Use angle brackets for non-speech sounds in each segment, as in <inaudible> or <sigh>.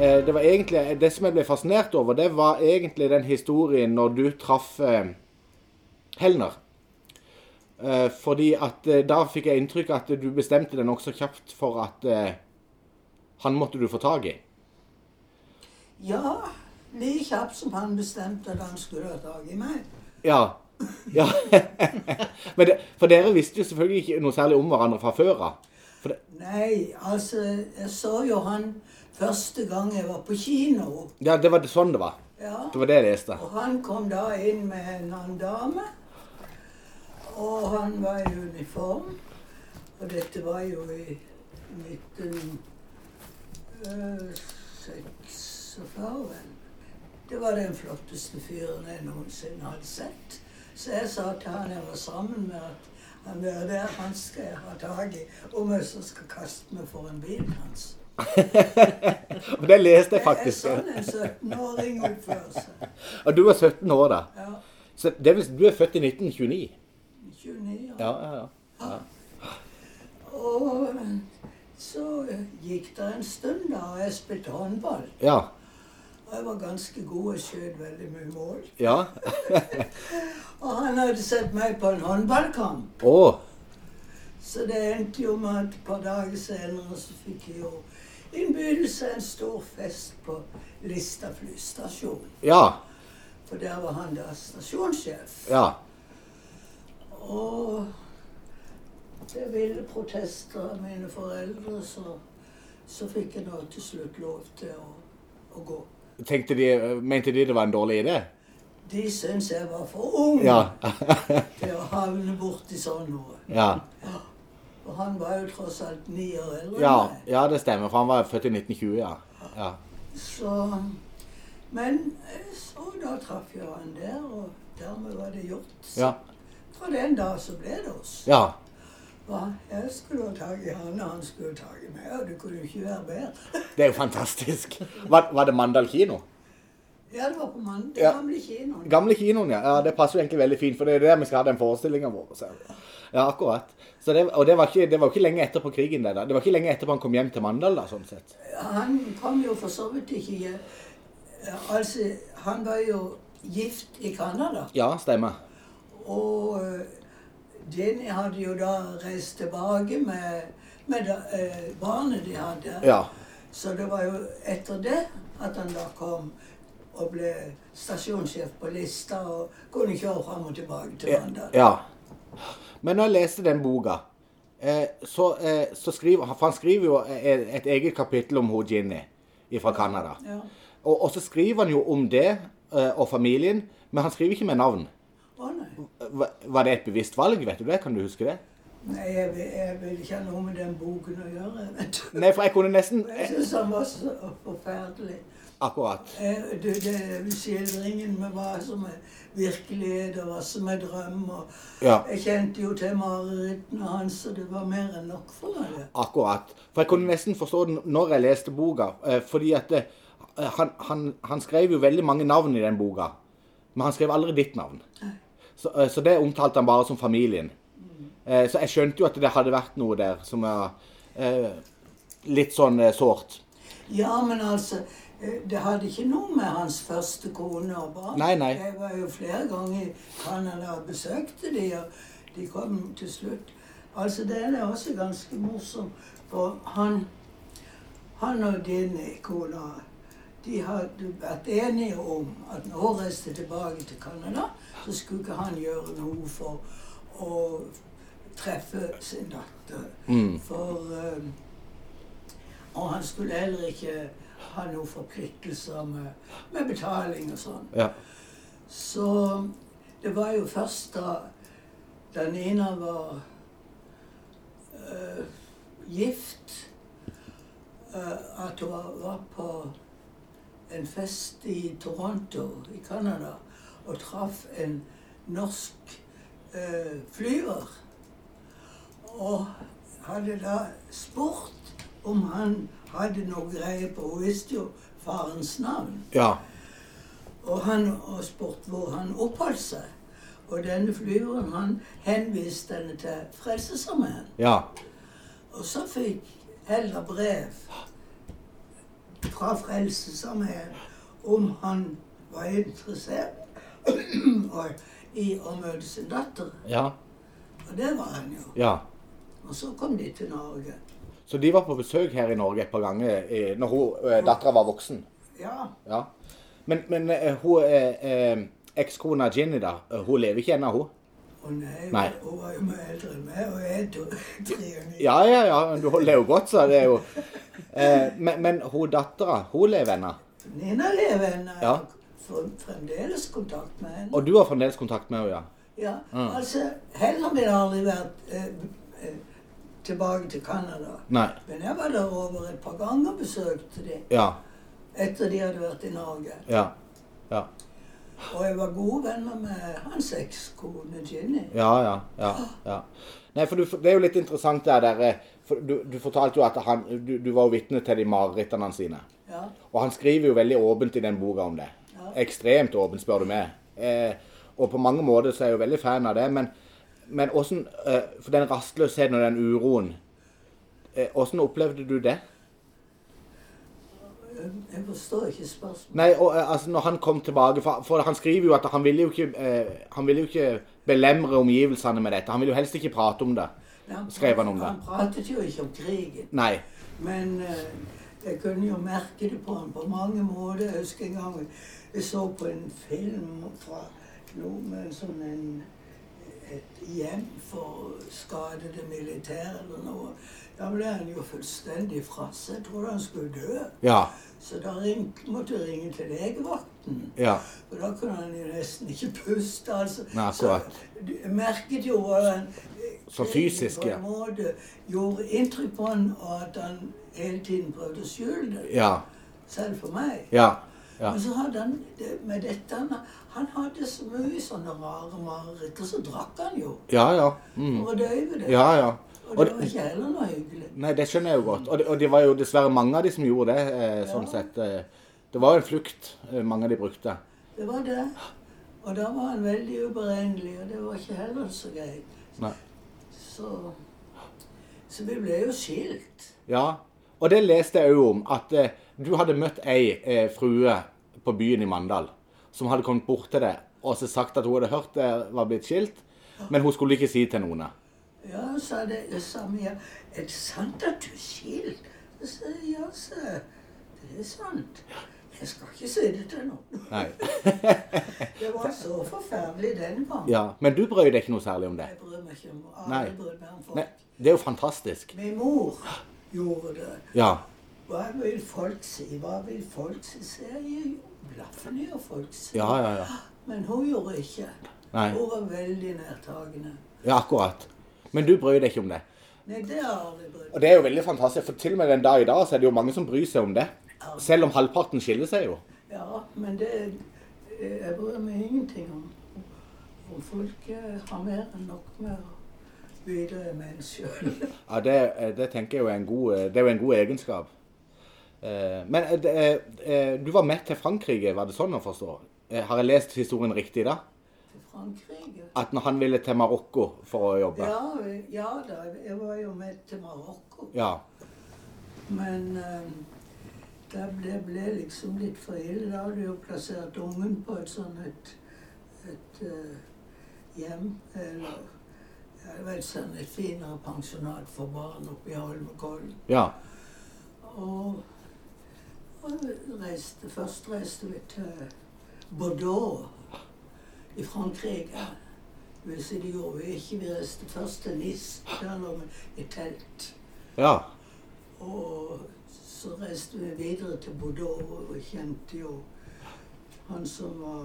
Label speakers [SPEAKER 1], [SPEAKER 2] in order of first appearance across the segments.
[SPEAKER 1] Eh, Det, var egentlig, det som jeg ble fascinert over, det var egentlig den historien når du traff eh, Helner. Eh, fordi at eh, da fikk jeg inntrykk av at du bestemte deg nokså kjapt for at eh, han måtte du få tak i.
[SPEAKER 2] Ja, like kjapt som han bestemte at han skulle ha tak i meg.
[SPEAKER 1] Ja. ja. <laughs> Men det, for dere visste jo selvfølgelig ikke noe særlig om hverandre fra før av. For det-
[SPEAKER 2] Nei, altså, jeg så jo han første gang jeg var på kino.
[SPEAKER 1] Ja, det var det- sånn det var.
[SPEAKER 2] Ja.
[SPEAKER 1] Det var det jeg leste.
[SPEAKER 2] Og han kom da inn med en annen dame. Og han var i uniform. Og dette var jo i eh, 1946. Det var den flotteste fyren jeg noensinne hadde sett. Så jeg sa til han jeg var sammen med, at han der, der han skal jeg ha tak i om jeg så skal kaste meg foran bilen hans.
[SPEAKER 1] Og det leste jeg
[SPEAKER 2] Det er
[SPEAKER 1] faktisk.
[SPEAKER 2] sånn en 17-åring oppfører seg.
[SPEAKER 1] Og du var 17 år da.
[SPEAKER 2] Ja,
[SPEAKER 1] Så det vil si du er født i 1929.
[SPEAKER 2] 29 år.
[SPEAKER 1] Ja, ja, ja.
[SPEAKER 2] Og så gikk det en stund, da, og jeg spilte håndball.
[SPEAKER 1] Ja.
[SPEAKER 2] Og jeg var ganske god og skjøt veldig mye mål.
[SPEAKER 1] ja.
[SPEAKER 2] Og han hadde sett meg på en håndballkamp.
[SPEAKER 1] Å.
[SPEAKER 2] Så det endte jo med at et par dager senere så fikk jeg jo innbydelse en stor fest på Lista flystasjon.
[SPEAKER 1] Ja.
[SPEAKER 2] For der var han da stasjonssjef.
[SPEAKER 1] Ja.
[SPEAKER 2] Og det ville protester av mine foreldre, så, så fikk jeg da til slutt lov til å, å gå.
[SPEAKER 1] Tenkte de, mente de det var en dårlig idé?
[SPEAKER 2] De syns jeg var for ung
[SPEAKER 1] Ja. <laughs>
[SPEAKER 2] til å havne borti sånn noe.
[SPEAKER 1] Ja.
[SPEAKER 2] Og han var jo tross alt ni år eldre
[SPEAKER 1] Ja,
[SPEAKER 2] enn meg.
[SPEAKER 1] ja det stemmer, for han var født i 1920, ja. ja.
[SPEAKER 2] Så, men eh, så da traff jeg han der, og dermed var det gjort. Så
[SPEAKER 1] Ja.
[SPEAKER 2] Fra den dag så ble det oss.
[SPEAKER 1] Ja.
[SPEAKER 2] Hva? Jeg skulle ha tak i han, og han skulle ha tak i meg. Og det kunne jo ikke være bedre. <laughs>
[SPEAKER 1] Det er jo fantastisk. Var, var det Mandal kino?
[SPEAKER 2] Ja, det var på mandag.
[SPEAKER 1] Ja.
[SPEAKER 2] Gamle kinoen.
[SPEAKER 1] Gamle kinoen, ja. ja. Det passer jo egentlig veldig fint, for det er jo der vi skal ha den forestillinga vår. Så. Ja, akkurat. Så det, og det var, ikke, det var jo ikke lenge etterpå krigen, det da. Det var ikke lenge etterpå han kom hjem til Mandal, da, sånn sett.
[SPEAKER 2] Han kom jo for så vidt ikke hjem. Eh, Altså, han var jo gift i Canada.
[SPEAKER 1] Ja, stemmer.
[SPEAKER 2] Og eh, Jenny hadde jo da reist tilbake med, med da, eh, barnet de hadde.
[SPEAKER 1] Ja.
[SPEAKER 2] Så det var jo etter det at han da kom og ble stasjonssjef på Lista og kunne kjøre fram og tilbake til Mandal.
[SPEAKER 1] Ja. Men når jeg leste den boka, eh, så, eh, så skriver for han skriver jo eh, et, et eget kapittel om hun Ginny fra Canada.
[SPEAKER 2] Ja.
[SPEAKER 1] Og, og så skriver han jo om det eh, og familien, men han skriver ikke med navn.
[SPEAKER 2] Å nei.
[SPEAKER 1] Hva- Var det et bevisst valg? vet du det? Kan du huske det?
[SPEAKER 2] Nei, jeg vil, jeg vil ikke ha noe med den boken å gjøre. Vet du.
[SPEAKER 1] Nei, for jeg kunne nesten
[SPEAKER 2] Jeg syns han var så forferdelig.
[SPEAKER 1] Akkurat.
[SPEAKER 2] Eh, Det, det er skildringen med hva som er virkelighet og hva som er drøm. Og
[SPEAKER 1] Ja.
[SPEAKER 2] Jeg kjente jo til marerittene hans, og det var mer enn nok for meg. det.
[SPEAKER 1] Akkurat. For jeg kunne nesten forstå den når jeg leste boka, eh, fordi at eh, han, han, han skrev jo veldig mange navn i den boka, men han skrev aldri ditt navn. Så, eh, så det omtalte han bare som familien. Eh, Så jeg skjønte jo at det hadde vært noe der som var eh, litt sånn eh, sårt.
[SPEAKER 2] Ja, men altså, eh, det hadde ikke noe med hans første kone og barn.
[SPEAKER 1] Nei, nei.
[SPEAKER 2] Jeg var jo flere ganger i Canada og besøkte de, og de kom til slutt. Altså, det er også ganske morsomt, for han, han og din kone, de hadde vært enige om at når hun reiste tilbake til Canada, så skulle ikke han gjøre noe for å treffe sin datter. For... eh, og han skulle heller ikke ha noen forpliktelser med, med betaling og sånn.
[SPEAKER 1] Ja.
[SPEAKER 2] Så det var jo først da, da Nina var eh, gift, eh, at hun var, var på en fest i Toronto i Canada og traff en norsk eh, flyver. Og hadde da spurt om han hadde noe greie på Hun visste jo farens navn.
[SPEAKER 1] Ja.
[SPEAKER 2] Og han og spurt hvor han oppholdt seg. Og denne flyveren han henviste henne til Frelsesarmeen.
[SPEAKER 1] Ja.
[SPEAKER 2] Og så fikk Helga brev fra Frelsesarmeen om han var interessert og- i å møte sin datter.
[SPEAKER 1] Ja.
[SPEAKER 2] Og det var han jo.
[SPEAKER 1] ja.
[SPEAKER 2] Og så kom de til Norge.
[SPEAKER 1] Så de var på besøk her i Norge et par ganger eh, når hun, eh, dattera var voksen.
[SPEAKER 2] Ja,
[SPEAKER 1] Ja. Men, men eh, hun eh, eh, ekskona Ginny, da, eh, hun lever ikke ennå, hun?
[SPEAKER 2] og nei,
[SPEAKER 1] Nei.
[SPEAKER 2] hun var jo mye eldre enn meg, og jeg er <laughs> to- 93.
[SPEAKER 1] Ja, ja, ja, men du holder jo godt, så det er jo eh, Men, men hun dattera, hun lever ennå?
[SPEAKER 2] Nina lever ennå. Jeg
[SPEAKER 1] Ja.
[SPEAKER 2] har får fremdeles kontakt med henne.
[SPEAKER 1] Og du har fremdeles kontakt med henne, ja?
[SPEAKER 2] Ja,
[SPEAKER 1] Mm.
[SPEAKER 2] altså, heller min har aldri vært eh, eh, tilbake til Canada.
[SPEAKER 1] Nei.
[SPEAKER 2] Men jeg var der over et par ganger og besøkte de
[SPEAKER 1] Ja.
[SPEAKER 2] etter de hadde vært i Norge.
[SPEAKER 1] Ja. Ja.
[SPEAKER 2] Og jeg var gode venner med hans ekskone Ginny.
[SPEAKER 1] Ja, ja, ja, ja. Nei, for du, det er jo litt interessant det der eh, for du, du fortalte jo at han, du, du var jo vitne til de marerittene hans sine.
[SPEAKER 2] Ja,
[SPEAKER 1] Og han skriver jo veldig åpent i den boka om det.
[SPEAKER 2] Ja.
[SPEAKER 1] Ekstremt åpent, spør du meg. Eh, og på mange måter så er jeg jo veldig fan av det, men, men åssen eh, For den rastløsheten og den uroen eh, Åssen opplevde du det?
[SPEAKER 2] jeg jeg forstår ikke spørsmålet.
[SPEAKER 1] Nei, og, eh, altså når han kom tilbake For, for han skriver jo at han ville jo ikke eh, Han ville jo ikke belemre omgivelsene med dette. Han ville jo helst ikke prate om det. Skrev han om det?
[SPEAKER 2] Han pratet jo ikke om krigen,
[SPEAKER 1] Nei.
[SPEAKER 2] men eh, jeg kunne jo merke det på ham på mange måter. Jeg husker en gang jeg så på en film fra noe med sånn en, et hjem for skadede militære eller noe. Da ble han jo fullstendig fra seg. Jeg trodde han skulle dø.
[SPEAKER 1] Ja.
[SPEAKER 2] Så da ring, måtte jeg ringe til legevakten.
[SPEAKER 1] Ja.
[SPEAKER 2] Og da kunne han jo nesten ikke puste, altså.
[SPEAKER 1] Nei, akkurat.
[SPEAKER 2] Så du- jeg merket jo hvordan eh,
[SPEAKER 1] Så
[SPEAKER 2] krigen
[SPEAKER 1] fysisk,
[SPEAKER 2] på
[SPEAKER 1] ja.
[SPEAKER 2] en måte gjorde inntrykk på han, og at han hele tiden prøvde å skjule det.
[SPEAKER 1] Ja.
[SPEAKER 2] Selv for meg.
[SPEAKER 1] Ja. ja.
[SPEAKER 2] Men så hadde han det, med dette han, han hadde så mye sånne rare mareritt, og så drakk han jo.
[SPEAKER 1] Ja, ja. Mm.
[SPEAKER 2] Og døyve det.
[SPEAKER 1] Ja, ja.
[SPEAKER 2] Og
[SPEAKER 1] Og
[SPEAKER 2] det var ikke heller noe hyggelig.
[SPEAKER 1] Nei, det skjønner jeg jo godt. Og det, og det var jo dessverre mange av de som gjorde det. Eh, sånn
[SPEAKER 2] Ja.
[SPEAKER 1] sett. Eh, det var jo en flukt eh, mange av de brukte.
[SPEAKER 2] Det var det. Og da var han veldig uberegnelig, og det var ikke heller så greit.
[SPEAKER 1] Nei.
[SPEAKER 2] Så, så vi ble jo skilt.
[SPEAKER 1] Ja. Og det leste jeg òg om, at eh, du hadde møtt ei eh, frue på byen i Mandal som hadde kommet bort til deg og så sagt at hun hadde hørt det var blitt skilt, men hun skulle ikke si til noen. eh.
[SPEAKER 2] Ja, sa det, jeg sa Mia, er det sant at du er skilt? Jeg sa ja, sa jeg. Det er sant. Jeg skal ikke si det til noen.
[SPEAKER 1] Nei. <laughs>
[SPEAKER 2] Det var så forferdelig den gangen.
[SPEAKER 1] Ja. Men du brøy deg ikke noe særlig om det.
[SPEAKER 2] Jeg bryr meg ikke om
[SPEAKER 1] Nei.
[SPEAKER 2] alle brydde meg om folk.
[SPEAKER 1] Nei. Det er jo fantastisk.
[SPEAKER 2] Min mor gjorde det.
[SPEAKER 1] Ja.
[SPEAKER 2] Hva vil folk si? Hva vil folk si? Så jeg gir jo blaffen i hva folk sier.
[SPEAKER 1] Ja, ja, ja.
[SPEAKER 2] Men hun gjorde ikke.
[SPEAKER 1] Nei.
[SPEAKER 2] Hun var veldig nærtagende.
[SPEAKER 1] Ja, akkurat. Men du brøy deg ikke om det.
[SPEAKER 2] Nei, det har jeg aldri brydd
[SPEAKER 1] Og det er jo veldig fantastisk, for til og med den dag i dag så er det jo mange som bryr seg om det. Selv om halvparten skiller seg jo.
[SPEAKER 2] Ja, men det eh, Jeg bryr meg ingenting om om folk eh, har mer enn nok med å videre med en <laughs> sjøl.
[SPEAKER 1] Ja, det, eh, det tenker jeg jo er en god, eh, det er jo en god egenskap. Eh, Men eh, det, eh, du var med til Frankrike, var det sånn å forstå? Eh, Har jeg lest historien riktig da?
[SPEAKER 2] Til Frankrike.
[SPEAKER 1] At når han ville til Marokko for å jobbe?
[SPEAKER 2] Ja, vi- ja da, jeg var jo med til Marokko.
[SPEAKER 1] Ja.
[SPEAKER 2] Men eh, det ble, ble liksom litt for ille. Da hadde jeg jo plassert ungen på et sånt et, et eh, hjem. Eller jeg vet sånn et finere pensjonat for barn oppe i Holmenkollen.
[SPEAKER 1] Ja.
[SPEAKER 2] Og, og reiste, først reiste vi til Bordeaux i Frankrike. Det vil si, det gjorde vi ikke. Vi reiste først til Nis, der lå vi i telt.
[SPEAKER 1] Ja.
[SPEAKER 2] Og så reiste vi videre til Bordeaux og kjente jo han som var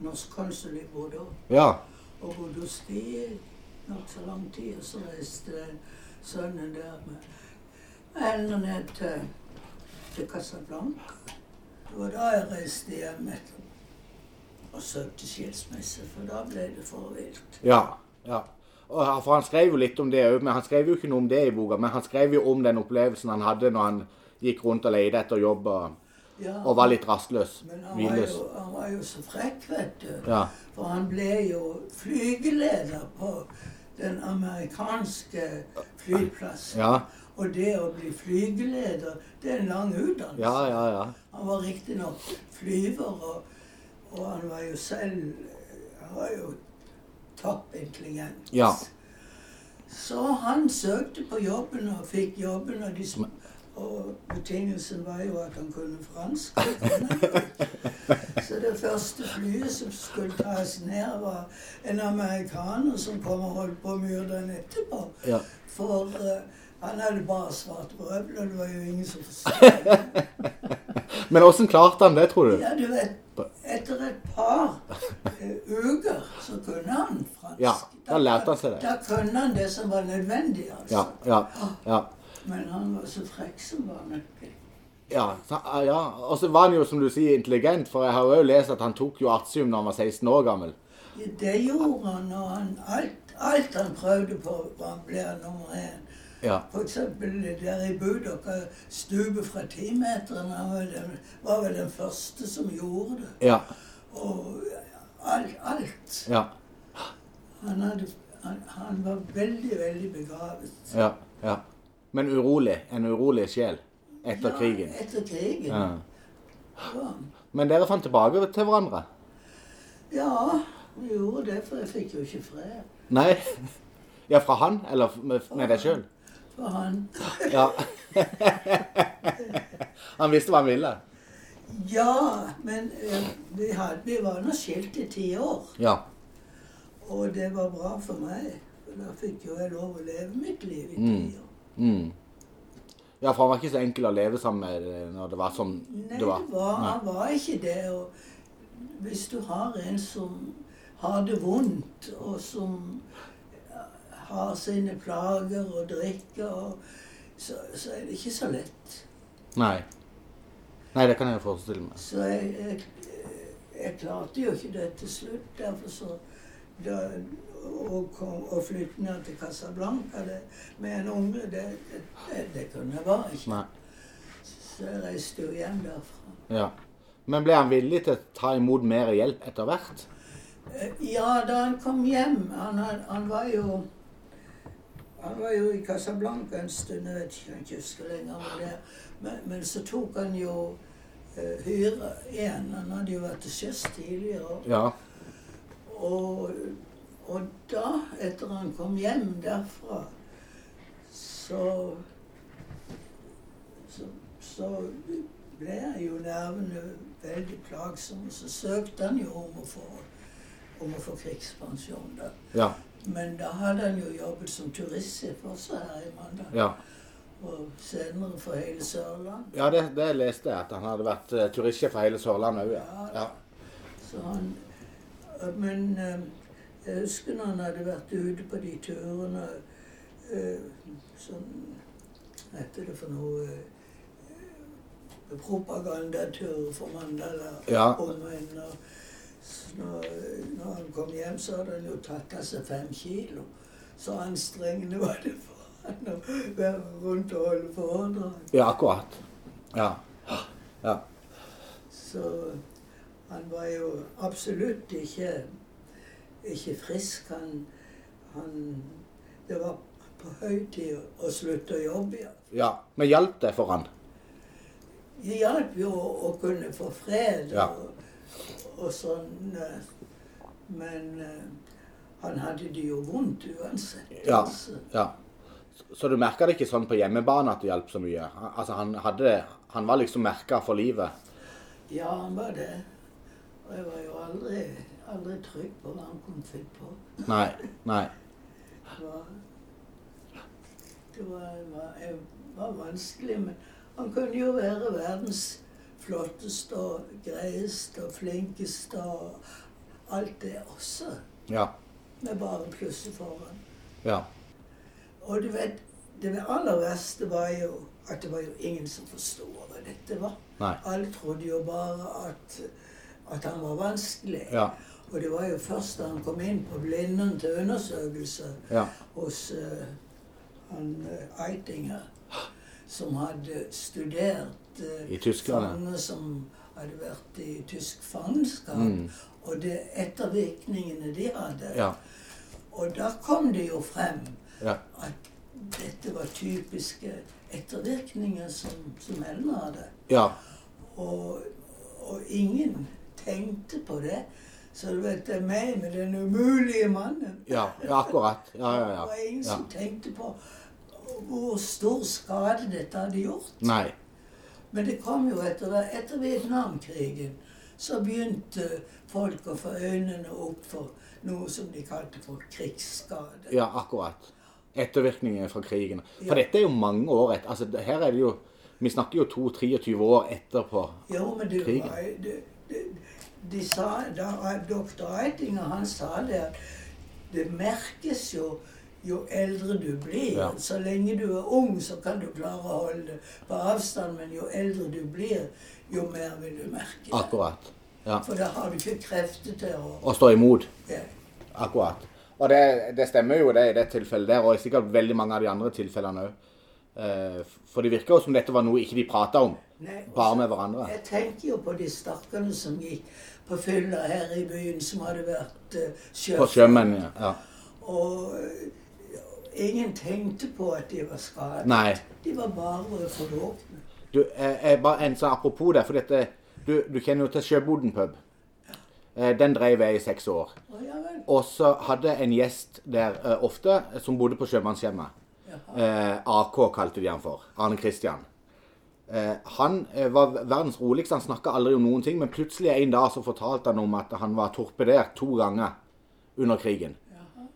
[SPEAKER 2] norsk konsul i Bordeaux.
[SPEAKER 1] Ja.
[SPEAKER 2] Og bodde hos de nokså lang tid, og så reiste den sønnen der med, med henne ned til, til Casablanca. Det var da jeg reiste hjem etter og søkte skilsmisse, for da ble det for vilt.
[SPEAKER 1] Ja. ja. Og han- For han skrev jo litt om det òg, men han skrev jo ikke noe om det i boka. Men han skrev jo om den opplevelsen han hadde når han gikk rundt og leide etter jobb og,
[SPEAKER 2] Ja,
[SPEAKER 1] og var litt rastløs.
[SPEAKER 2] men han var,
[SPEAKER 1] Hvilløs.
[SPEAKER 2] jo, han var jo så frekk, vet du.
[SPEAKER 1] Ja.
[SPEAKER 2] For han ble jo flygeleder på den amerikanske flyplassen.
[SPEAKER 1] Ja.
[SPEAKER 2] Og det å bli flygeleder, det er en lang utdannelse.
[SPEAKER 1] Ja, ja, ja.
[SPEAKER 2] Han var riktignok flyver, og, og han var jo selv Han var jo topp intelligent.
[SPEAKER 1] Ja.
[SPEAKER 2] Så han søkte på jobben og fikk jobben, og, de, sm- og betingelsen var jo at han kunne fransk. Så det første flyet som skulle tas ned, var en amerikaner som kom og holdt på å myrde han etterpå.
[SPEAKER 1] ja.
[SPEAKER 2] For eh, han hadde bare svart brød, og det var jo ingen som forstod.
[SPEAKER 1] Men åssen klarte han det, tror du?
[SPEAKER 2] Ja, du vet, etter et par eh, uker så kunne han fransk.
[SPEAKER 1] Ja, da lærte han seg det.
[SPEAKER 2] Da kunne han det som var nødvendig, altså.
[SPEAKER 1] Ja, ja, ja.
[SPEAKER 2] Men han var så frekk som var nøkkelen.
[SPEAKER 1] ja, så- ja. Og så var han jo, som du sier, intelligent, for jeg har jo lest at han tok jo artium da han var 16 år gammel.
[SPEAKER 2] Det gjorde han, og han, alt, alt han prøvde på, han ble nummer én.
[SPEAKER 1] Ja.
[SPEAKER 2] For eksempel der i Budokka, stupet fra timeteren, han var, den, var vel den første som gjorde det.
[SPEAKER 1] Ja.
[SPEAKER 2] Og alt, alt.
[SPEAKER 1] Ja.
[SPEAKER 2] Han, hadde, han, han var veldig, veldig begavet.
[SPEAKER 1] Ja. ja. Men urolig. En urolig sjel etter
[SPEAKER 2] Ja,
[SPEAKER 1] krigen.
[SPEAKER 2] Etter krigen.
[SPEAKER 1] Ja.
[SPEAKER 2] Ja. Ja.
[SPEAKER 1] Men dere fant tilbake til hverandre?
[SPEAKER 2] vi gjorde det, for jeg fikk jo ikke fred.
[SPEAKER 1] Nei? Ja, fra han, eller med, med deg sjøl?
[SPEAKER 2] For han
[SPEAKER 1] Ja. <laughs> Han visste hva han ville.
[SPEAKER 2] Ja, men eh, vi, hadde, vi var nå skilt i ti år,
[SPEAKER 1] Ja.
[SPEAKER 2] og det var bra for meg. For da fikk jo jeg lov å leve mitt liv i ti
[SPEAKER 1] Mm.
[SPEAKER 2] år.
[SPEAKER 1] Mm. Ja, for han var ikke så enkel å leve sammen med eh, når det var sånn
[SPEAKER 2] Nei,
[SPEAKER 1] det var.
[SPEAKER 2] det var, han var ikke det. Og hvis du har en som har det vondt, og som eh, har sine plager og drikker, og, så, så er det ikke så lett.
[SPEAKER 1] Nei. Nei, det kan jeg jo forestille meg.
[SPEAKER 2] Så jeg, jeg, jeg klarte jo ikke det til slutt. Derfor så da, å, kom, å flytte ned til Casablanca det, med en unge, det, det, det, det kunne jeg bare ikke.
[SPEAKER 1] Nei.
[SPEAKER 2] Så jeg reiste jo hjem derfra.
[SPEAKER 1] Ja. Men ble han villig til å ta imot mer hjelp etter hvert?
[SPEAKER 2] Eh, Ja, da han kom hjem Han, had- han var jo han var jo i Casablanca en stund, jeg vet ikke, jeg kan ikke husker lenger om det. Men, men så tok han jo eh, hyre igjen. Han hadde jo vært til sjøs tidligere.
[SPEAKER 1] Ja.
[SPEAKER 2] Og, og da, etter han kom hjem derfra, så Så, så ble jo nervene veldig plagsomme. Så søkte han jo om å få, om å få krigspensjon, da.
[SPEAKER 1] Ja.
[SPEAKER 2] Men da hadde han jo jobbet som turistsjef også her i Mandal.
[SPEAKER 1] Ja,
[SPEAKER 2] Og senere for hele Sørlandet.
[SPEAKER 1] ja det, det leste jeg, at han hadde vært eh, turistsjef for hele Sørlandet òg. Ja. Ja.
[SPEAKER 2] Så han Men eh, jeg husker når han hadde vært ute på de turene eh, Sånn hva heter det for noe eh, Propagandaturer for Mandala.
[SPEAKER 1] Ja.
[SPEAKER 2] Omvendt. og så Når, når han kom hjem, så hadde han jo tatt av seg fem kilo. Så anstrengende var det for han å være rundt og holde foredrag.
[SPEAKER 1] ja, akkurat. Ja. Ja.
[SPEAKER 2] Så han var jo absolutt ikke, ikke frisk. Han, han Det var på høy tid å- å slutte å jobbe igjen.
[SPEAKER 1] ja. Men hjalp det for han?
[SPEAKER 2] Det hjalp jo å, å kunne få fred
[SPEAKER 1] Ja.
[SPEAKER 2] og, og sånn. eh, Men eh, han hadde det jo vondt uansett.
[SPEAKER 1] Ja.
[SPEAKER 2] altså.
[SPEAKER 1] ja. Så- Så du merka det ikke sånn på hjemmebane at det hjalp så mye? Han- Altså, han, hadde, han var liksom merka for livet?
[SPEAKER 2] ja, han var det. Og jeg var jo aldri, aldri trygg på hva han kom til på.
[SPEAKER 1] Nei. Nei.
[SPEAKER 2] Det var, det var, var, jeg var vanskelig, men han kunne jo være verdens flotteste og greieste og flinkeste og alt det også,
[SPEAKER 1] Ja.
[SPEAKER 2] med bare plusser foran.
[SPEAKER 1] Ja.
[SPEAKER 2] Og du vet, det aller verste var jo at det var jo ingen som forsto hva dette var.
[SPEAKER 1] Nei.
[SPEAKER 2] Alle trodde jo bare at, at han var vanskelig.
[SPEAKER 1] Ja.
[SPEAKER 2] Og det var jo først da han kom inn på Blindern til undersøkelse
[SPEAKER 1] Ja.
[SPEAKER 2] hos eh, han eh, Eitinger, som hadde studert eh,
[SPEAKER 1] I Tyskland, ja.
[SPEAKER 2] fanger som hadde vært i tysk fangenskap,
[SPEAKER 1] Mm.
[SPEAKER 2] og det ettervirkningene de hadde.
[SPEAKER 1] Ja.
[SPEAKER 2] Og da kom det jo frem
[SPEAKER 1] Ja.
[SPEAKER 2] at dette var typiske ettervirkninger som, som Ellen hadde.
[SPEAKER 1] Ja.
[SPEAKER 2] Og, og ingen tenkte på det. Så du vet, det er meg med den umulige mannen.
[SPEAKER 1] Ja, ja akkurat. Ja, ja, ja.
[SPEAKER 2] Det var ingen
[SPEAKER 1] ja.
[SPEAKER 2] som tenkte på hvor stor skade dette hadde gjort.
[SPEAKER 1] Nei.
[SPEAKER 2] Men det kom jo etter, hver- etter Vietnamkrigen. Så begynte folk å få øynene opp for noe som de kalte for krigsskade.
[SPEAKER 1] Ja, akkurat. Ettervirkningene fra krigen. For
[SPEAKER 2] Ja.
[SPEAKER 1] dette er jo mange år etter. Altså, det- her er det jo Vi snakker jo 22-23 år etterpå.
[SPEAKER 2] Jo, men det
[SPEAKER 1] Krigen.
[SPEAKER 2] var det, det, de sa, da, Doktor Eitinger han sa det at det merkes jo jo eldre du blir.
[SPEAKER 1] Ja.
[SPEAKER 2] Så lenge du er ung, så kan du klare å holde det på avstand, men jo eldre du blir, jo mer vil du merke det.
[SPEAKER 1] Akkurat. Ja.
[SPEAKER 2] For da har du ikke krefter til å
[SPEAKER 1] Og stå imot.
[SPEAKER 2] ja.
[SPEAKER 1] Akkurat. Og det, det stemmer jo det i det tilfellet der, og sikkert veldig mange av de andre tilfellene òg. For det virker jo som dette var noe ikke de prata om,
[SPEAKER 2] Nei, og
[SPEAKER 1] bare
[SPEAKER 2] så-
[SPEAKER 1] med hverandre.
[SPEAKER 2] Jeg tenker jo på de stakkarene som gikk på fylla her i byen, som hadde vært uh,
[SPEAKER 1] På sjømenn, ja. ja.
[SPEAKER 2] Og eh, ingen tenkte på at de var skadet.
[SPEAKER 1] Nei.
[SPEAKER 2] De var bare fordråpne.
[SPEAKER 1] Du, jeg, jeg, bare en sånn apropos det, for dette, du, du kjenner jo til Sjøboden pub. Eh, Den dreiv jeg i seks år.
[SPEAKER 2] Å ja vel.
[SPEAKER 1] Og så hadde jeg en gjest der eh, ofte, som bodde på sjømannshjemmet.
[SPEAKER 2] Jaha.
[SPEAKER 1] Eh, AK kalte de han for. Arne Kristian. Eh, han eh, var verdens roligste, han snakka aldri om noen ting, men plutselig en dag så fortalte han om at han var torpedert to ganger under krigen.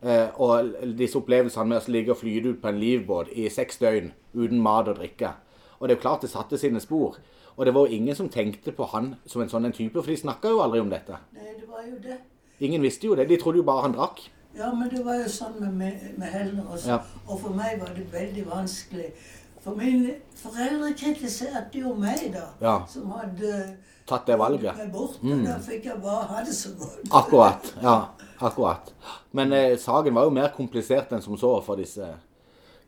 [SPEAKER 1] Eh, og disse opplevelsene med å ligge og flyte ut på en livbåt i seks døgn uten mat og drikke. Og det er jo klart det satte sine spor. Og det var jo ingen som tenkte på han som en sånn en type, for de snakka jo aldri om dette.
[SPEAKER 2] Nei, det var jo det.
[SPEAKER 1] Ingen visste jo det. De trodde jo bare han drakk.
[SPEAKER 2] Ja, men det var jo sånn med, med, med Helmer også.
[SPEAKER 1] Ja.
[SPEAKER 2] Og for meg var det veldig vanskelig. For mine foreldre kritiserte jo meg, da.
[SPEAKER 1] Ja.
[SPEAKER 2] Som hadde
[SPEAKER 1] Tatt det valget. Mm.
[SPEAKER 2] meg bort. Og da fikk jeg bare ha det så godt.
[SPEAKER 1] Akkurat. Ja, akkurat. Men eh, saken var jo mer komplisert enn som så for disse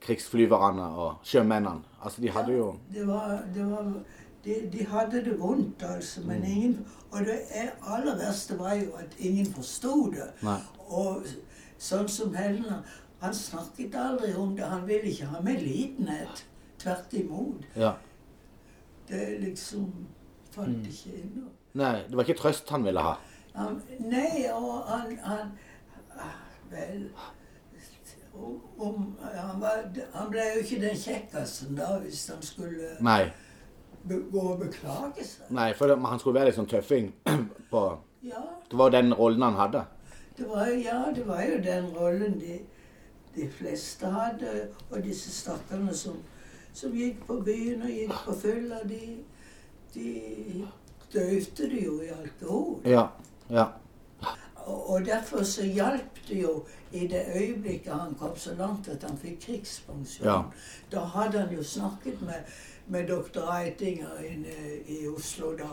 [SPEAKER 1] krigsflyverne og sjømennene. Altså, de hadde jo
[SPEAKER 2] Det var, det var, de, de hadde det vondt, altså, men ingen Og det er- aller verste var jo at ingen forsto det.
[SPEAKER 1] Nei.
[SPEAKER 2] Og sånn som Helena, han snakket aldri om det. Han ville ikke ha medlidenhet. Tvert imot.
[SPEAKER 1] ja.
[SPEAKER 2] Det liksom falt ikke inn. og-
[SPEAKER 1] Nei, det var ikke trøst han ville ha.
[SPEAKER 2] Han, nei, og han, han ah, Vel om, om, han, var, han ble jo ikke den kjekkasen da, hvis han skulle
[SPEAKER 1] Nei,
[SPEAKER 2] be, gå og beklage seg.
[SPEAKER 1] Nei for det, men han skulle være litt sånn tøffing <clears throat> på
[SPEAKER 2] Ja,
[SPEAKER 1] Det var jo den rollen han hadde.
[SPEAKER 2] Det var, jo- ja, det var jo den rollen de, de fleste hadde. Og disse stakkarene som, som gikk på byen og gikk på fylla, de, de døyvde det jo i alkohol.
[SPEAKER 1] Ja. Ja.
[SPEAKER 2] Og, og derfor så hjalp det jo i det øyeblikket han kom så langt at han fikk krigspensjon.
[SPEAKER 1] Ja.
[SPEAKER 2] Da hadde han jo snakket med, med doktor Eitinger inne i Oslo, da,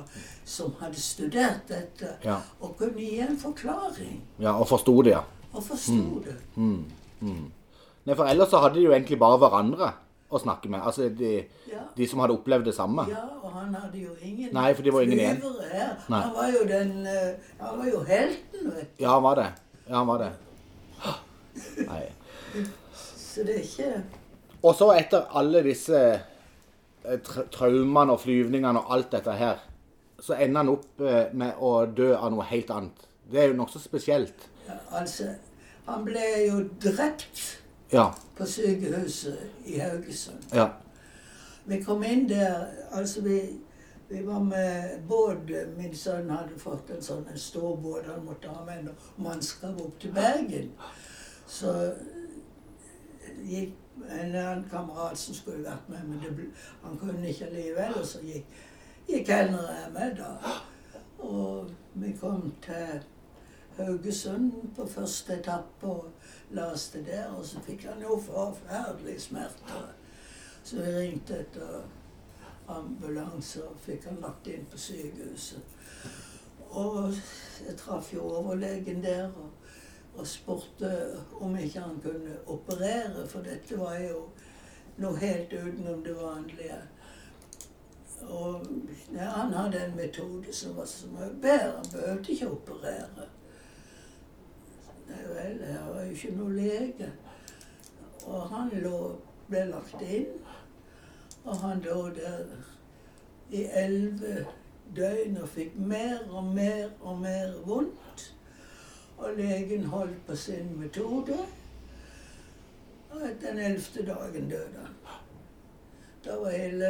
[SPEAKER 2] som hadde studert dette,
[SPEAKER 1] Ja.
[SPEAKER 2] og kunne gi en forklaring.
[SPEAKER 1] ja og forsto det, ja.
[SPEAKER 2] Og
[SPEAKER 1] Mm.
[SPEAKER 2] forsto det.
[SPEAKER 1] Nei, for ellers så hadde de jo egentlig bare hverandre å snakke med. Altså de,
[SPEAKER 2] Ja.
[SPEAKER 1] de som hadde opplevd det samme.
[SPEAKER 2] Ja, og han hadde jo ingen
[SPEAKER 1] Nei, for det var ingen igjen.
[SPEAKER 2] flyvere her.
[SPEAKER 1] Nei.
[SPEAKER 2] Han var jo den eh, Han var jo helten, vet du.
[SPEAKER 1] Ja, han var det. Ja, han var det.
[SPEAKER 2] <sniffs>
[SPEAKER 1] Nei.
[SPEAKER 2] Så det er ikke
[SPEAKER 1] Og så etter alle disse eh, tra traumene og flyvningene og alt dette her, så ender han opp eh, med å dø av noe helt annet. Det er jo nokså spesielt.
[SPEAKER 2] ja, Altså, han ble jo drept
[SPEAKER 1] Ja.
[SPEAKER 2] på sykehuset i Haugesund.
[SPEAKER 1] Ja.
[SPEAKER 2] Vi kom inn der Altså, vi, vi var med båt. Min sønn hadde fått en sånn en stor båt han måtte ha med noe mannskap opp til Bergen. Så gikk en annen kamerat som skulle vært med, men det ble, han kunne ikke likevel. Og så gikk, gikk Henry og jeg med, da. Og vi kom til Haugesund på første etappe og la oss til der. Og så fikk han jo forferdelige smerter. Så vi ringte etter ambulanse og fikk han lagt inn på sykehuset. Og jeg traff jo overlegen der og, og spurte om ikke han kunne operere, for dette var jo noe helt utenom det vanlige. Og ja, han hadde en metode som var så mye bedre, han behøvde ikke operere. Nei vel, jeg var jo ikke noe lege. Og han lå ble lagt inn. Og han lå der i elleve døgn og fikk mer og mer og mer vondt. Og legen holdt på sin metode. Og etter den ellevte dagen døde han. Da var hele,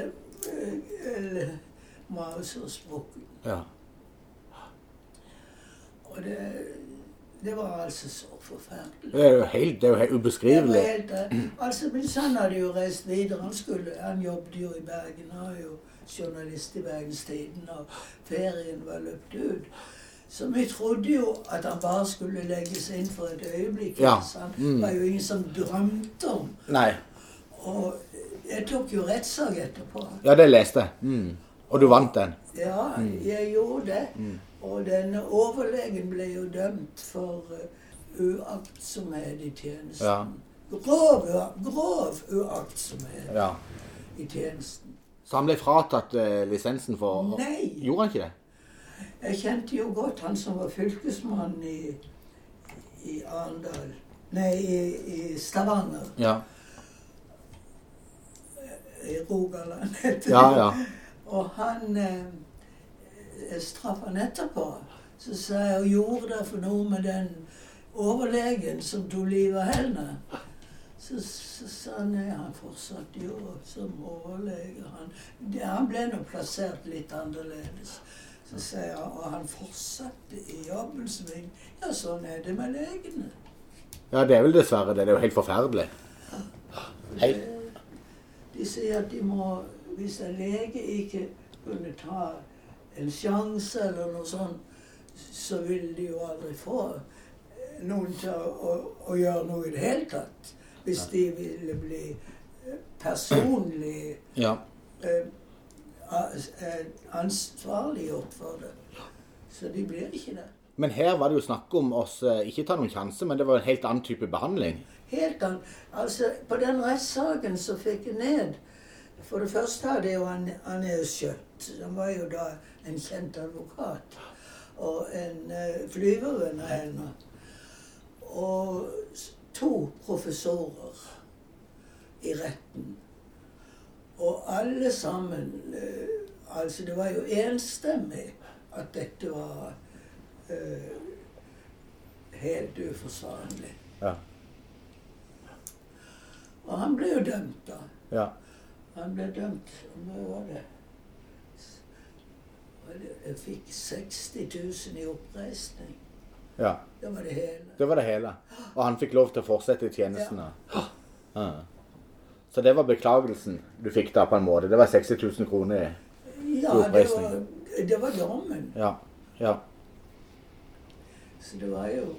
[SPEAKER 2] hele magen sprukken.
[SPEAKER 1] Ja.
[SPEAKER 2] Og det, det var altså så forferdelig.
[SPEAKER 1] Det er jo helt, det er jo helt
[SPEAKER 2] Det var
[SPEAKER 1] ubeskrivelig.
[SPEAKER 2] helt, eh, altså, men han hadde jo reist videre. Han, skulle, han jobbet jo i Bergen, han var jo journalist i Bergenstiden, og ferien var løpt ut. Så vi trodde jo at han bare skulle legges inn for et øyeblikk.
[SPEAKER 1] Ja.
[SPEAKER 2] altså. Han
[SPEAKER 1] Mm.
[SPEAKER 2] var jo ingen som drømte om.
[SPEAKER 1] Nei.
[SPEAKER 2] Og jeg tok jo rettssak etterpå.
[SPEAKER 1] Ja, det leste jeg. Mm. Og du vant den.
[SPEAKER 2] Ja,
[SPEAKER 1] Mm.
[SPEAKER 2] jeg gjorde det. Og denne overlegen ble jo dømt for eh, uaktsomhet i tjenesten. Grov, ua- grov uaktsomhet
[SPEAKER 1] Ja.
[SPEAKER 2] i tjenesten.
[SPEAKER 1] Så han ble fratatt eh, lisensen for
[SPEAKER 2] Nei!
[SPEAKER 1] Gjorde han ikke det?
[SPEAKER 2] Jeg kjente jo godt han som var fylkesmann i, i Arendal Nei, i, i Stavanger.
[SPEAKER 1] Ja.
[SPEAKER 2] I Rogaland, heter
[SPEAKER 1] Ja, ja.
[SPEAKER 2] Og han eh, straff han etterpå. Så sa jeg og gjorde det for noe med den overlegen som tok livet av henne. Så, så sa han nei, han fortsatte jo som overlege. Han, det, han ble nå plassert litt annerledes. Så sa jeg, og han fortsatte i jobben sin. Ja, sånn er det med legene.
[SPEAKER 1] Ja, det er vel dessverre det. Det er jo helt forferdelig. Helt.
[SPEAKER 2] De sier at de må, hvis en lege ikke kunne ta en sjanse eller noe sånt, så vil de jo aldri få noen til å, å, å gjøre noe i det hele tatt. Hvis de ville bli eh, personlig
[SPEAKER 1] Ja.
[SPEAKER 2] eh, a- eh, ansvarliggjort for det. Så de blir ikke det.
[SPEAKER 1] Men her var det jo snakk om oss eh, ikke ta noen sjanse, men det var en helt annen type behandling.
[SPEAKER 2] Helt an... Altså, på den rettssaken som fikk jeg ned For det første hadde jeg jo han, han er jo skjøtt. Han var jo da en kjent advokat. Og en eh, flyvervenn av henne. Og s- to professorer i retten. Og alle sammen eh, Altså, det var jo enstemmig at dette var eh, helt uforsvarlig.
[SPEAKER 1] Ja.
[SPEAKER 2] Og han ble jo dømt, da.
[SPEAKER 1] Ja.
[SPEAKER 2] Han ble dømt. Hvor mye var det? Var det- Jeg fikk 60 000 i oppreisning.
[SPEAKER 1] ja.
[SPEAKER 2] Det var det hele.
[SPEAKER 1] Det var det hele. Og han fikk lov til å fortsette i tjenestene. Ja. Så det var beklagelsen du fikk da, på en måte. Det var 60 000 kroner. i-
[SPEAKER 2] Ja, det var,
[SPEAKER 1] oppreisning.
[SPEAKER 2] det var dommen.
[SPEAKER 1] Ja. Ja.
[SPEAKER 2] Så det var jo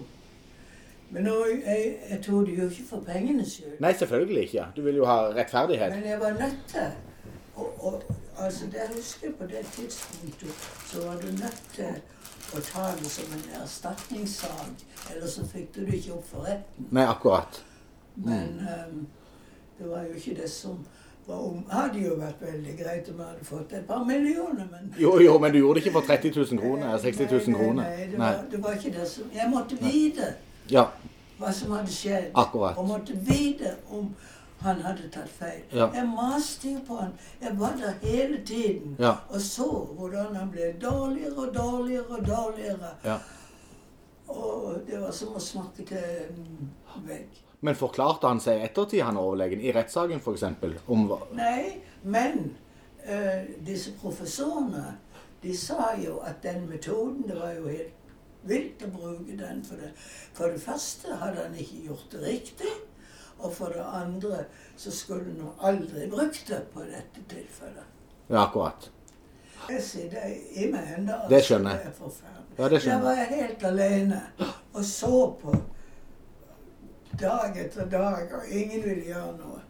[SPEAKER 2] Men nå, jeg, jeg tok det jo ikke for pengenes skyld.
[SPEAKER 1] Nei, selvfølgelig ikke. Du vil jo ha rettferdighet.
[SPEAKER 2] Men jeg var nødt til og, og, altså, det husker jeg på det tidspunktet, så var du nødt til å ta det som en erstatningssak. Eller så fikk du det ikke opp for retten.
[SPEAKER 1] Nei, akkurat.
[SPEAKER 2] Men
[SPEAKER 1] Mm.
[SPEAKER 2] ehm, det var jo ikke det som var om. Hadde jo vært veldig greit om jeg hadde fått et par millioner, men
[SPEAKER 1] Jo, jo, men du gjorde det ikke for 30 000 kroner. eller 60 000 kroner.
[SPEAKER 2] Nei, nei, det,
[SPEAKER 1] Nei.
[SPEAKER 2] var, det var ikke det som Jeg måtte vite
[SPEAKER 1] Ja.
[SPEAKER 2] hva som hadde skjedd.
[SPEAKER 1] Akkurat.
[SPEAKER 2] Og måtte vite om han hadde tatt feil.
[SPEAKER 1] Ja.
[SPEAKER 2] Jeg maste jo på han. Jeg var der hele tiden
[SPEAKER 1] Ja.
[SPEAKER 2] og så hvordan han ble dårligere og dårligere og dårligere.
[SPEAKER 1] ja.
[SPEAKER 2] Og det var som å snakke til en vegg.
[SPEAKER 1] Men forklarte han seg i ettertid, han overlegen, i rettssaken f.eks., om hva
[SPEAKER 2] Nei, men eh, disse professorene de sa jo at den metoden Det var jo helt vilt å bruke den. For det, for det første hadde han ikke gjort det riktig. Og for det andre så skulle han jo aldri brukt det på dette tilfellet.
[SPEAKER 1] Ja, akkurat.
[SPEAKER 2] Jeg sier det i meg ennå.
[SPEAKER 1] Det skjønner jeg.
[SPEAKER 2] er forferdelig.
[SPEAKER 1] Ja, det skjønner
[SPEAKER 2] Der var jeg helt alene og så på dag etter dag, og ingen ville gjøre noe.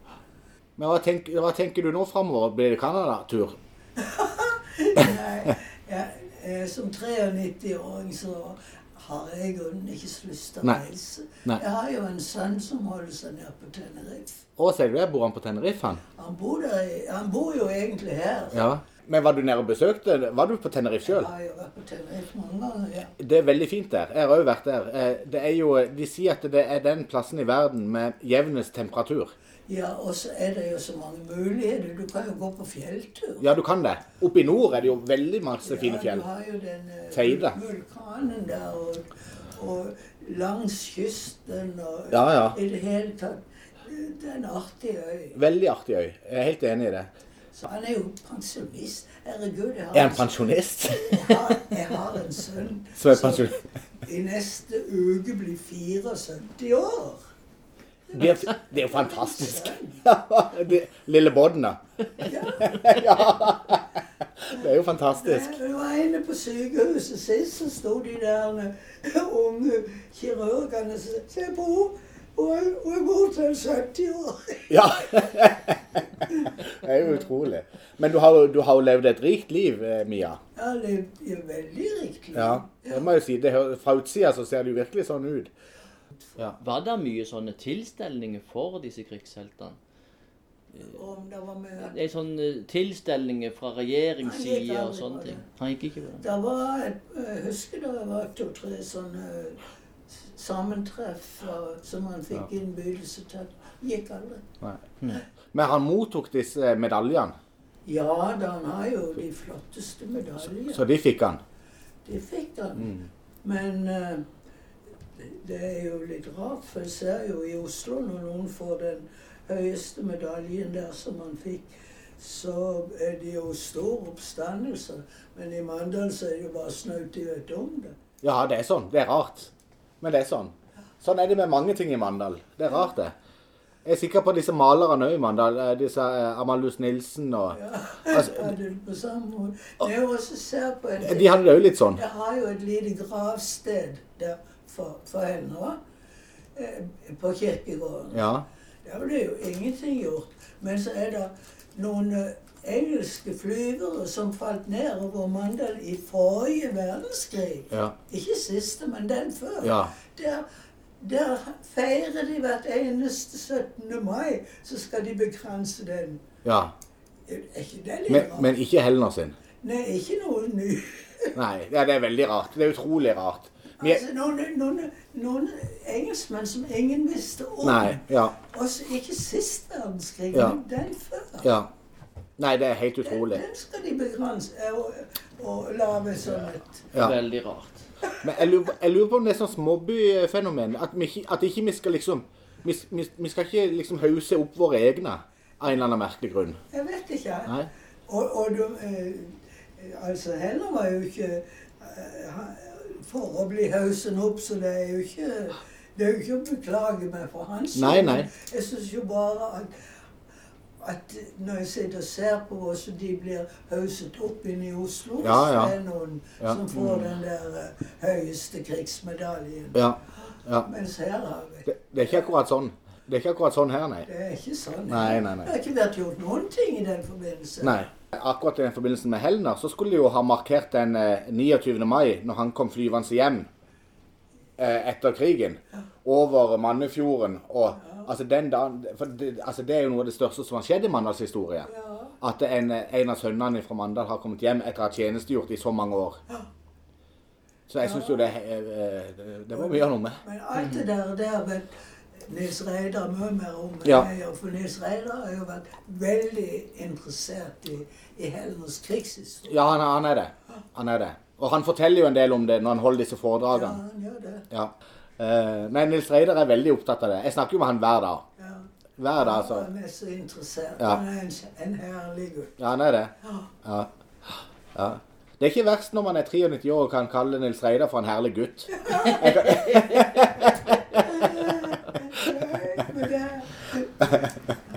[SPEAKER 1] Men hva tenker, hva tenker du nå framover? Blir det Canada-tur?
[SPEAKER 2] Nei, jeg, jeg, eh, som 93-åring så har jeg i grunnen ikke så lyst til å
[SPEAKER 1] Nei.
[SPEAKER 2] reise.
[SPEAKER 1] Nei.
[SPEAKER 2] Jeg har jo en sønn som holder seg nede på Tenerife.
[SPEAKER 1] Å, ser du det? Bor han på Tenerife, han?
[SPEAKER 2] Han bor, der, i- han bor jo egentlig her.
[SPEAKER 1] Ja. Men var du nede og besøkte? Var du på Tenerife
[SPEAKER 2] Jeg
[SPEAKER 1] sjøl?
[SPEAKER 2] har jo vært på Tenerife mange ganger. Ja.
[SPEAKER 1] Det er veldig fint der. Jeg har òg vært der. Eh, Det er jo, de sier at det er den plassen i verden med jevnest temperatur.
[SPEAKER 2] Ja, og så er det jo så mange muligheter. Du kan jo gå på fjelltur.
[SPEAKER 1] Ja, du kan det. Oppe i nord er det jo veldig masse fine fjell.
[SPEAKER 2] Ja, du har jo den eh,
[SPEAKER 1] Teide.
[SPEAKER 2] vulkanen der, og, og langs kysten og
[SPEAKER 1] Ja, ja.
[SPEAKER 2] i det hele tatt. Det er en artig øy.
[SPEAKER 1] Veldig artig øy. Jeg er helt enig i det.
[SPEAKER 2] Så han er jo pensjonist. Herregud, jeg
[SPEAKER 1] Er han
[SPEAKER 2] har,
[SPEAKER 1] pensjonist?
[SPEAKER 2] jeg har, jeg har en sønn
[SPEAKER 1] Som er pensjonist.
[SPEAKER 2] i neste uke blir 74 år.
[SPEAKER 1] <laughs> Det er, det er jo fantastisk. <laughs>
[SPEAKER 2] Sønn.
[SPEAKER 1] Det- Lille Bodden, <laughs> da.
[SPEAKER 2] Ja,
[SPEAKER 1] Det er jo fantastisk.
[SPEAKER 2] jeg var inne på sykehuset sist, så sto de der eh, unge kirurgene og sa Se på henne, hun er- hun er god til 70 år.
[SPEAKER 1] Ja. Det er jo utrolig. Men du har jo, du har jo levd et rikt liv, eh, Mia.
[SPEAKER 2] Ja, det er veldig riktig.
[SPEAKER 1] Ja, det må jeg jo si. Det, hø- fra utsida så ser det jo virkelig sånn ut.
[SPEAKER 3] Var det mye sånne tilstelninger for disse krigsheltene?
[SPEAKER 2] Om det var mye
[SPEAKER 3] Det er sånne tilstelninger fra
[SPEAKER 2] Han gikk
[SPEAKER 3] regjeringssida og
[SPEAKER 2] aldri på
[SPEAKER 3] sånne
[SPEAKER 2] det.
[SPEAKER 3] ting. Han gikk ikke på det.
[SPEAKER 2] Det var et, jeg husker det var to-tre sånne s- sammentreff og- som han fikk innbydelse til. Gikk aldri.
[SPEAKER 1] Mm. Men han mottok disse eh, medaljene,
[SPEAKER 2] Ja da, han har jo de flotteste medaljer.
[SPEAKER 1] så Mm. de fikk han.
[SPEAKER 2] Det fikk han. Men eh, det er jo litt rart, for jeg ser jo i Oslo når noen får den høyeste medaljen der som han fikk, så er det jo stor oppstandelse. Men i Mandal så er det jo bare snaut de vet om det.
[SPEAKER 1] Ja, det er sånn. Det er rart. Men det er sånn. Sånn er det med mange ting i Mandal. Det er rart, det. Jeg er sikker på disse malerne òg i Mandal. eh, Disse eh, Amalius Nilsen og altså,
[SPEAKER 2] Ja, det er på samme måte. Det er jo også ser på en
[SPEAKER 1] De hadde det òg litt sånn.
[SPEAKER 2] Jeg har jo et lite gravsted der for, for henne også, eh, på kirkegården.
[SPEAKER 1] Ja.
[SPEAKER 2] Der ble jo ingenting gjort. Men så er det noen eh, engelske flyvere som falt ned over Mandal i forrige verdenskrig.
[SPEAKER 1] Ja.
[SPEAKER 2] Ikke siste, men den før.
[SPEAKER 1] Ja.
[SPEAKER 2] Der, der feirer de hvert eneste 17. mai, så skal de begrense den. Øh,
[SPEAKER 1] ja.
[SPEAKER 2] Er ikke det litt
[SPEAKER 1] Men,
[SPEAKER 2] rart?
[SPEAKER 1] men ikke Helner sin.
[SPEAKER 2] Nei, ikke noe
[SPEAKER 1] <laughs>
[SPEAKER 2] ny.
[SPEAKER 1] Nei. Ja, det er veldig rart. Det er utrolig rart. Vi er,
[SPEAKER 2] Altså, noen, noen, noen engelskmenn som ingen visste om.
[SPEAKER 1] nei. Ja.
[SPEAKER 2] Også ikke sist verdenskrig,
[SPEAKER 1] Ja.
[SPEAKER 2] men den før.
[SPEAKER 1] Ja. Nei, det er helt
[SPEAKER 2] Den,
[SPEAKER 1] utrolig.
[SPEAKER 2] den skal de begrense og, og lage sånn et
[SPEAKER 1] Ja.
[SPEAKER 3] Veldig rart.
[SPEAKER 1] Men jeg lurer, jeg lurer på om det er sånn småbyfenomen. At, vi ikke- at ikke vi skal liksom Vi, vi, vi skal ikke liksom hause opp våre egne av en eller annen merkelig grunn.
[SPEAKER 2] Jeg vet ikke.
[SPEAKER 1] Nei.
[SPEAKER 2] Og, og du, eh, altså Heller var jo ikke eh, han- For å bli hausen opp, så det er jo ikke Det er jo ikke å beklage meg for hans
[SPEAKER 1] Nei,
[SPEAKER 2] skyld.
[SPEAKER 1] nei.
[SPEAKER 2] Jeg syns jo bare at at når jeg sitter og ser på hvordan de blir hauset opp inne i Oslo,
[SPEAKER 1] Ja,
[SPEAKER 2] så
[SPEAKER 1] ja.
[SPEAKER 2] er det noen
[SPEAKER 1] Ja.
[SPEAKER 2] som får den der eh, høyeste krigsmedaljen.
[SPEAKER 1] Ja. ja.
[SPEAKER 2] Mens her har vi
[SPEAKER 1] Det, det er ikke akkurat sånn. Det er ikke akkurat sånn her, nei.
[SPEAKER 2] Det er ikke sånn.
[SPEAKER 1] Nei, nei, nei.
[SPEAKER 2] Det har ikke vært gjort noen ting i den forbindelse.
[SPEAKER 1] Nei. Akkurat i den forbindelsen med Helner så skulle de jo ha markert den eh, 29. mai, når han kom flyvende hjem eh, etter krigen, over Mannefjorden. Og altså den dagen for det, altså, det er jo noe av det største som har skjedd i Mandals historie.
[SPEAKER 2] Ja.
[SPEAKER 1] At en, eh, en av sønnene fra Mandal har kommet hjem etter å ha tjenestegjort i så mange år. Så jeg syns jo det eh, eh, Det må vi gjøre noe med.
[SPEAKER 2] Men alt det der, der vet Nils Reidar mye mer om enn
[SPEAKER 1] Ja.
[SPEAKER 2] jeg gjør. For Nils Reidar har jo vært veldig interessert i, i Hellenes krigshistorie.
[SPEAKER 1] Ja, han, han er det. Han er det. Og han forteller jo en del om det når han holder disse
[SPEAKER 2] Ja,
[SPEAKER 1] foredragene.
[SPEAKER 2] han gjør det.
[SPEAKER 1] Ja. Eh, nei, Nils Reidar er veldig opptatt av det. Jeg snakker jo med han hver dag.
[SPEAKER 2] Ja.
[SPEAKER 1] Hver dag, altså.
[SPEAKER 2] Han er så interessert.
[SPEAKER 1] Ja.
[SPEAKER 2] Han er en, en herlig gutt.
[SPEAKER 1] Ja, han er det.
[SPEAKER 2] Ja.
[SPEAKER 1] Ja. ja. Det er ikke verst når man er 93 år og kan kalle Nils Reidar for en herlig gutt.
[SPEAKER 2] Nei, men det,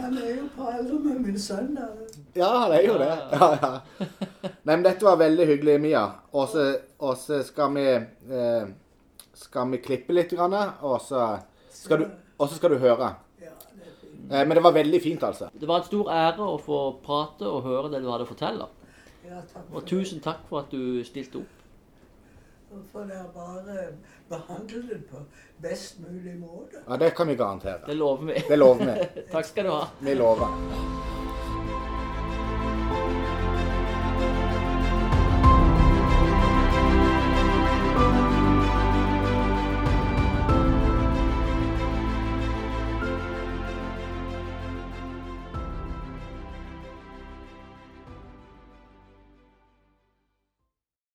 [SPEAKER 2] han er jo på alder med min sønn. da.
[SPEAKER 1] Ja, han er jo det. Ja, ja. Nei, men dette var veldig hyggelig, Mia. Og så og så skal vi eh, skal vi klippe litt, grann, og så skal, du- og så skal du høre.
[SPEAKER 2] Ja, det er fint.
[SPEAKER 1] Eh, men det var veldig fint, altså.
[SPEAKER 3] Det var en stor ære å få prate og høre det du hadde å fortelle.
[SPEAKER 2] Ja, takk for
[SPEAKER 3] Og tusen takk for at du stilte opp.
[SPEAKER 2] det. For dere bare behandler det på best mulig måte.
[SPEAKER 1] Ja, Det kan vi garantere.
[SPEAKER 3] Det lover vi. <laughs>
[SPEAKER 1] Det lover vi.
[SPEAKER 3] Takk skal du ha.
[SPEAKER 1] Vi lover.